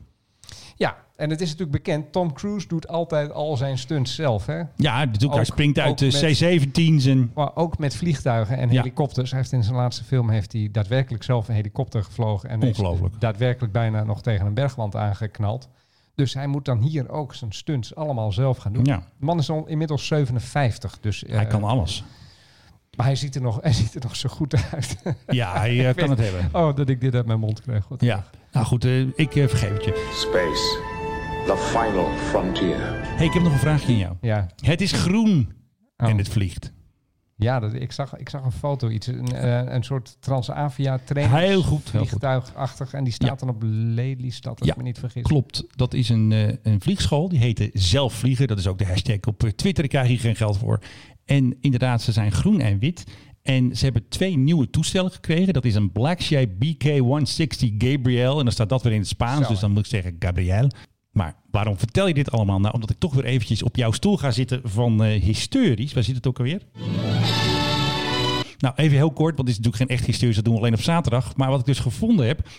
Ja, en het is natuurlijk bekend. Tom Cruise doet altijd al zijn stunts zelf. Hè?
Ja, natuurlijk. hij
Ook-
springt uit
ook
de
met-
C-17's. En,
Maar ook met vliegtuigen en
Ja.
helikopters. Hij heeft in zijn laatste film heeft hij daadwerkelijk zelf een helikopter gevlogen. En is
Ongelooflijk.
daadwerkelijk bijna nog tegen een bergwand aangeknald. Dus hij moet dan hier ook zijn stunts allemaal zelf gaan doen.
ja,
De man is al inmiddels 57. Dus,
hij
eh,
kan alles.
Maar hij ziet, er nog, hij ziet er nog zo goed uit.
Ja, hij eh, kan het hebben.
oh, dat ik dit uit mijn mond kreeg. Wat
Ja. Nou goed, eh, ik eh, vergeef het je.
Space, the final frontier.
hey, ik heb nog een vraagje aan jou.
ja.
Het is groen
Oh.
en het vliegt.
Ja, dat, ik, zag, ik zag een foto, iets, een, eh, een soort Transavia train.
Heel goed, heel goed.
Vliegtuigachtig. En die staat
Ja.
dan op Lelystad, als
Ja,
ik me niet vergis.
Klopt, dat is een, eh, een vliegschool. Die heette Zelf Vliegen. Dat is ook de hashtag op eh, Twitter. Daar krijg je geen geld voor. En inderdaad, ze zijn groen en wit. En ze hebben twee nieuwe toestellen gekregen. Dat is een Black Shape BK-160 Gabriel. En dan staat dat weer in het Spaans.
Zo.
Dus dan moet ik zeggen Gabriel. Maar waarom vertel je dit allemaal? Nou, omdat ik toch weer eventjes op jouw stoel ga zitten van eh historisch. Waar zit het ook alweer? Nou, even heel kort, want dit is natuurlijk geen echt historisch, dat doen we alleen op zaterdag. Maar wat ik dus gevonden heb,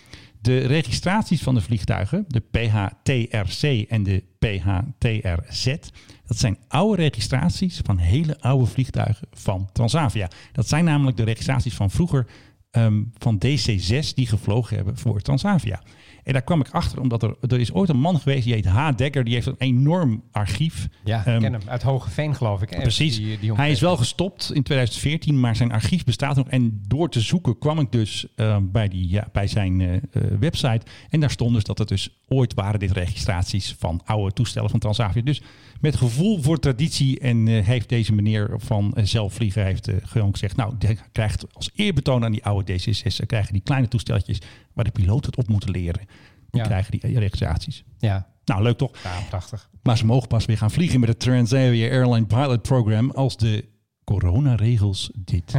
de registraties van de vliegtuigen, de PHTRC en de PHTRZ, dat zijn oude registraties van hele oude vliegtuigen van Transavia. Dat zijn namelijk de registraties van vroeger ehm, van DC-6 die gevlogen hebben voor Transavia. En daar kwam ik achter, omdat er, er is ooit een man geweest, die heet H. Dekker. Die heeft een enorm archief.
Ja,
Ehm,
ik ken hem. Uit Hogeveen, geloof ik. hè?
Precies.
Die- die
hij is wel gestopt in 2014, maar zijn archief bestaat nog. En door te zoeken kwam ik dus eh, bij, die, ja, bij zijn eh, eh, website. En daar stond dus dat het dus ooit waren dit registraties van oude toestellen van Transavia. Dus met gevoel voor traditie en eh, heeft deze meneer van eh, zelfvliegen heeft, eh, gewoon gezegd... nou, hij krijgt als eerbetoon aan die oude D66... eh, krijgen die kleine toesteltjes waar de piloot het op moeten leren. Die
Ja.
krijgen die eh, registraties.
Ja,
Nou, leuk toch?
ja, prachtig.
Maar ze mogen pas weer gaan vliegen met het Transavia Airline Pilot Program als de coronaregels dit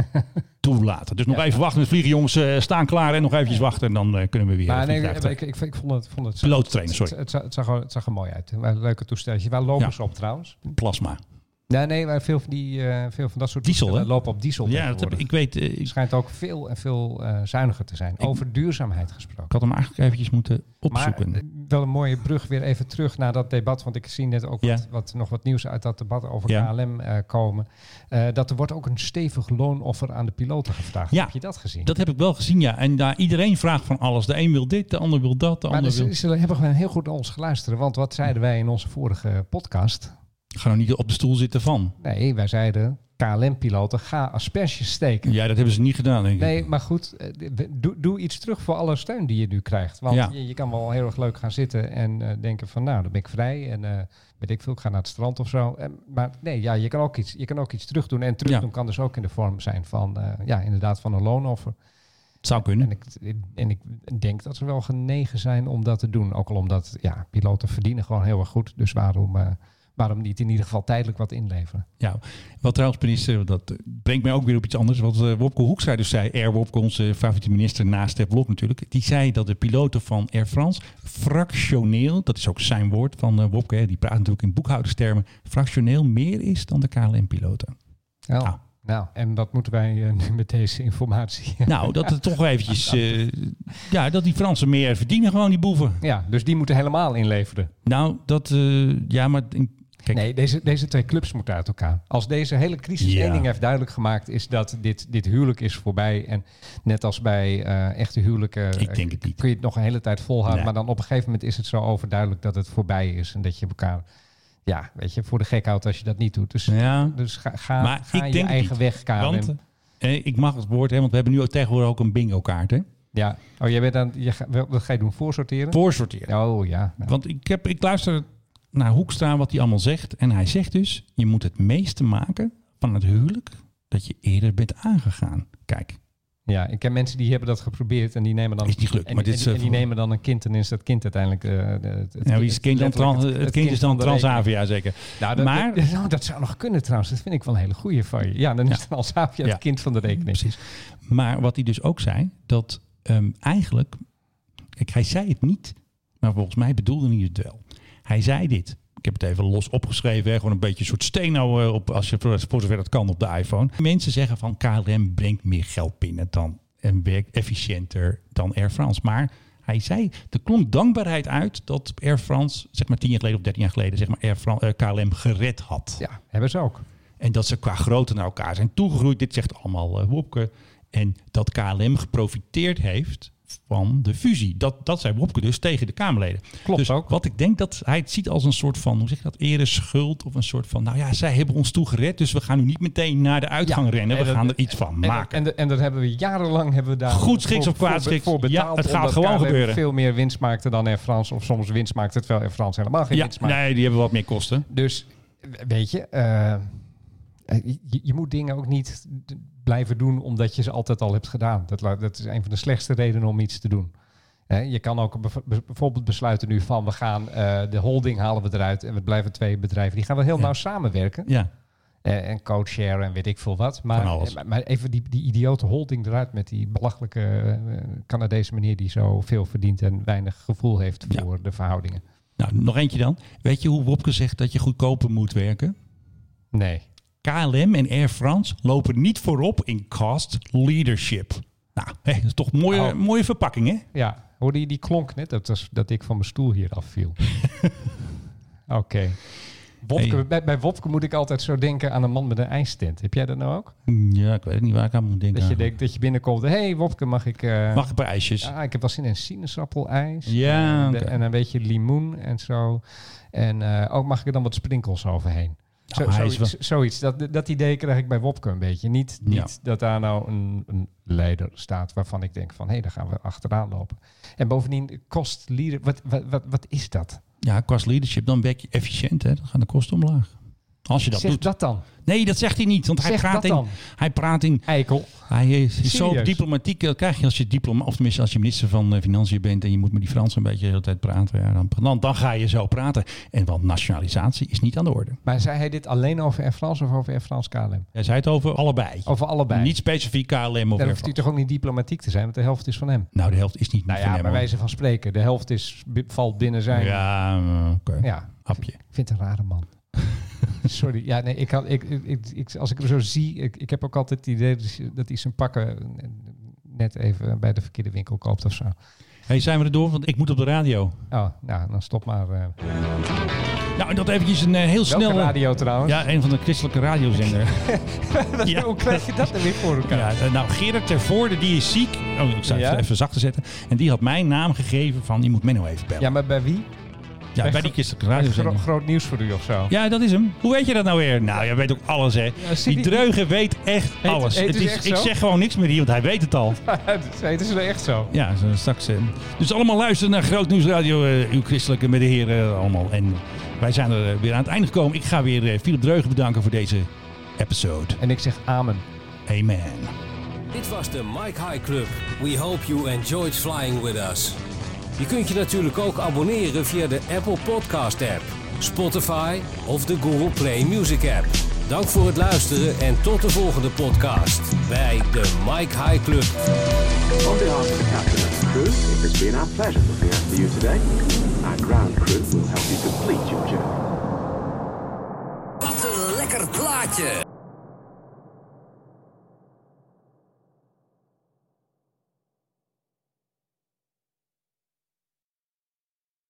toelaten. Dus nog even wachten met vliegen, jongens. Eh, staan klaar en nog eventjes wachten en dan eh, kunnen we weer.
Maar
het
nee,
vliegtuig
ik,
terug.
ik, ik, ik vond het... Vond het
Pilotentrainer,
het,
sorry.
het, zag- het, zag, er- het zag er mooi uit. Een leuke toestelletje. Waar lopen
Ja.
ze op trouwens?
Plasma.
Nee, nee, maar veel van, die, eh, veel van dat soort
Diesel,
toestellen
hè?
lopen op diesel
Ja, dat heb,
tegenwoordig.
ik weet. eh, ik
Het schijnt ook veel en veel eh, zuiniger te zijn. Over duurzaamheid gesproken.
had hem eigenlijk eventjes moeten
Maar
opzoeken.
eh, wel een mooie brug weer even terug naar dat debat. Want ik zie net ook
Ja.
wat, wat, nog wat nieuws uit dat debat over
Ja.
KLM eh, komen. Eh, dat er wordt ook een stevig loonoffer aan de piloten gevraagd.
Ja.
Heb je dat gezien?
dat heb ik wel gezien, ja. En daar iedereen vraagt van alles. De een wil dit, de ander wil dat, de
maar dus
ander wil.
ze, ze hebben gewoon heel goed naar ons geluisterd. Want wat zeiden wij in onze vorige podcast?
Ga nou niet op de stoel zitten van.
Nee, wij zeiden KLM-piloten, ga asperges steken.
Ja, dat hebben ze niet gedaan, denk ik.
Nee, maar goed, eh, d- we- doe, doe iets terug voor alle steun die je nu krijgt. Want
Ja.
je, je kan wel heel erg leuk gaan zitten en eh, denken van nou, dan ben ik vrij en eh, weet ik veel, ik ga naar het strand of zo. En, maar nee, ja, je, kan ook iets, je kan ook iets terug doen. En terug
Ja.
doen kan dus ook in de vorm zijn van, eh, ja, inderdaad van een loonoffer.
Het zou
En
kunnen.
ik, en ik denk dat ze wel genegen zijn om dat te doen. Ook al omdat, ja, piloten verdienen gewoon heel erg goed. Dus waarom, eh, waarom niet in ieder geval tijdelijk wat inleveren?
Ja, wat trouwens minister, dat eh, brengt mij ook weer op iets anders. Wat eh, Wopke Hoekstra dus zei, Air Wopke, onze favoriete minister naast het blok natuurlijk. Die zei dat de piloten van Air France fractioneel, dat is ook zijn woord van eh, Wopke, hè, die praat natuurlijk in boekhouderstermen, fractioneel meer is dan de KLM-piloten.
Nou,
Nou.
nou, en wat moeten wij eh, nu met deze informatie? eh,
Nou, dat het toch wel eventjes, eh, ja, dat die Fransen meer verdienen gewoon, die boeven.
Ja, dus die moeten helemaal inleveren.
Nou, dat, eh, ja, maar in- kijk,
Nee, deze, deze twee clubs moeten uit elkaar. Als deze hele crisis
Ja.
één ding heeft duidelijk gemaakt, is dat dit, dit huwelijk is voorbij. En net als bij eh, echte huwelijken eh,
Ik denk het niet.
kun je het nog een hele tijd volhouden.
Nee.
Maar dan op een gegeven moment is het zo overduidelijk dat het voorbij is. En dat je elkaar, ja, weet je, voor de gek houdt als je dat niet doet. Dus,
ja.
dus ga, ga,
Maar
ga
ik
je
denk het
eigen
niet.
weg, KLM.
Want, eh, ik mag het woord, hè, want we hebben nu ook tegenwoordig ook een bingo-kaart, hè.
ja. Oh, jij bent aan, je, ga- wel- wat ga je doen? Voorsorteren?
Voorsorteren.
Oh ja. Nou,
Want ik, heb, ik luister naar Hoekstra wat hij allemaal zegt. En hij zegt dus, je moet het meeste maken van het huwelijk dat je eerder bent aangegaan. Kijk,
Ja, ik ken mensen die hebben dat geprobeerd en die nemen dan
Is niet gelukt,
en,
maar dit
en-
is,
en
eh,
die nemen dan een kind en is dat kind uiteindelijk eh, de- het,
nou, wie is het kind dan
letterlijk
tran- het, kind is dan
van de rekening.
Transavia zeker.
Nou, dat,
maar,
dat, nou, dat zou nog kunnen trouwens. Dat vind ik wel een hele goeie van je. Ja, dan is Transavia
Ja.
het kind van de rekening.
precies. maar wat hij dus ook zei, dat ehm, eigenlijk, kijk, hij zei het niet, maar volgens mij bedoelde hij het wel. Hij zei dit. Ik heb het even los opgeschreven. Hè. Gewoon een beetje een soort steno eh, op, als je voor voor zover dat kan op de iPhone. Mensen zeggen van KLM brengt meer geld binnen dan en werkt efficiënter dan Air France. Maar hij zei, er klonk dankbaarheid uit dat Air France, zeg maar tien jaar geleden of dertien jaar geleden, zeg maar Air France, eh, KLM gered had.
Ja, hebben ze ook.
En dat ze qua grootte naar elkaar zijn toegegroeid. Dit zegt allemaal eh, Wopke. En dat KLM geprofiteerd heeft van de fusie. Dat, dat zei Wopke dus tegen de Kamerleden.
Klopt
dus
ook.
Wat ik denk dat hij het ziet als een soort van, hoe zeg je dat, ereschuld. Of een soort van, nou ja, zij hebben ons toegered. Dus we gaan nu niet meteen naar de uitgang
Ja,
rennen. We
en dat-
gaan er iets van
En-
maken.
En, en, dat hebben we jarenlang hebben we daar
Goed schiks
voor-
of kwaad
voor-
schiks.
voor
Ja,
betaald
het gaat
omdat
gewoon
KLM
gebeuren.
veel meer winst maakte dan Air France. Of soms winst maakte terwijl Air France helemaal geen
ja,
winst maakte.
nee, die hebben wat meer kosten.
Dus weet je, eh, je, je moet dingen ook niet d- blijven doen omdat je ze altijd al hebt gedaan. Dat, la- dat is een van de slechtste redenen om iets te doen. Hè, je kan ook bev- be- bijvoorbeeld besluiten nu van we gaan eh, de holding halen we eruit en we blijven twee bedrijven. Die gaan wel heel nauw samenwerken.
Ja,
Eh, en coachshare en weet ik veel wat.
Van
Maar,
alles.
maar, maar even die, die idiote holding eruit met die belachelijke eh, Canadese meneer die zoveel verdient en weinig gevoel heeft
Ja.
voor de verhoudingen.
nou nog eentje dan. Weet je hoe Wopke zegt dat je goedkoper moet werken?
Nee.
KLM en Air France lopen niet voorop in cost leadership. Nou, hè, dat is toch een mooie,
Nou.
mooie verpakking, hè?
Ja, hoorde je die klonk net? Dat, was, dat ik van mijn stoel hier afviel. Oké. Wopke,
Hey.
bij, bij Wopke moet ik altijd zo denken aan een man met een ijstent. Heb jij dat nou ook?
Ja, ik weet niet waar ik aan moet denken.
Dat je
eigenlijk.
denkt dat je binnenkomt. Hé hey, Wopke, mag ik... eh,
Mag ik een paar ijsjes?
Ah, ik heb wel zin in sinaasappelijs.
Ja,
En,
oké.
en een beetje limoen en zo. En eh, ook mag ik er dan wat sprinkels overheen. Zo,
Nou, hij is
zoiets. zoiets. Dat, dat idee krijg ik bij Wopke een beetje. Niet,
Ja.
niet dat daar nou een, een leider staat waarvan ik denk van... hé, hey, daar gaan we achteraan lopen. En bovendien, kost leader... Wat, wat, wat, wat is dat?
Ja, qua leadership, dan werk je efficiënt. Hè? Dan gaan de kosten omlaag. Als je dat
zeg
doet.
dat dan.
Nee, dat zegt hij niet. Want hij
Zeg
praat,
dat
in,
dan.
hij praat in.
Eikel.
Hij is zo
Serieus?
diplomatiek. Dat krijg je als je diploma, of tenminste als je minister van eh, Financiën bent en je moet met die Fransen een beetje de hele tijd praten. Ja, dan, dan, dan ga je zo praten. En want nationalisatie is niet aan de orde.
Maar zei hij dit alleen over Air France of over Air France KLM?
Hij zei het over allebei.
Over allebei.
Niet specifiek KLM of
Daar
Air
hoeft hij
France.
toch ook niet diplomatiek te zijn, want de helft is van hem.
Nou, de helft is niet
Nou
van
ja,
hem,
bij
hoor.
wijze van spreken. De helft is, bi- valt binnen zijn.
Ja, eh, oké.
Ja,
Hapje.
ik vind het een rare man. Sorry, ja, nee, ik had, ik, ik, ik- ik- als ik hem zo zie, ik, ik heb ook altijd het idee dat hij- dat hij zijn pakken net even bij de verkeerde winkel koopt of zo.
Hey, zijn we er door? Want ik moet op de radio.
Oh, nou, dan stop maar. eh.
Nou, en dat eventjes een eh, heel
Welke
snelle...
radio trouwens?
Ja, een van de christelijke radiozender. ja.
Hoe krijg je dat er weer voor elkaar?
Ja, eh, nou, Gerard ter Voorde, die is ziek. Oh, ik zou
Ja?
het even zachter zetten. En die had mijn naam gegeven van, je moet Menno even bellen.
Ja, maar bij wie?
Ja, bij
Echt-
die christelijke
Echt gro-
radiozender.
groot nieuws voor u of zo?
Ja, dat is hem. Hoe weet je dat nou weer? Nou, jij weet ook alles, hè.
zie
die
die-
dreugen weet echt alles.
heet
Het
het
is,
echt
ik
zo?
zeg gewoon niks meer hier, want hij weet het al.
het is wel echt zo.
Ja, zo straks. eh. Dus allemaal luisteren naar Groot Nieuws Radio, eh, uw christelijke met de heren eh, allemaal. En wij zijn er eh, weer aan het einde gekomen. Ik ga weer eh, Philip Dreugen bedanken voor deze episode.
En ik zeg amen.
Amen.
Dit was de Mike High Club. We hope you enjoyed flying with us. Je kunt je natuurlijk ook abonneren via de Apple Podcast app, Spotify of de Google Play Music app. Dank voor het luisteren en tot de volgende podcast bij de Mike High Club.
On behalf of the captain and crew, it has been our pleasure preparing for you today. Our ground crew will help you complete your journey.
Wat een lekker plaatje!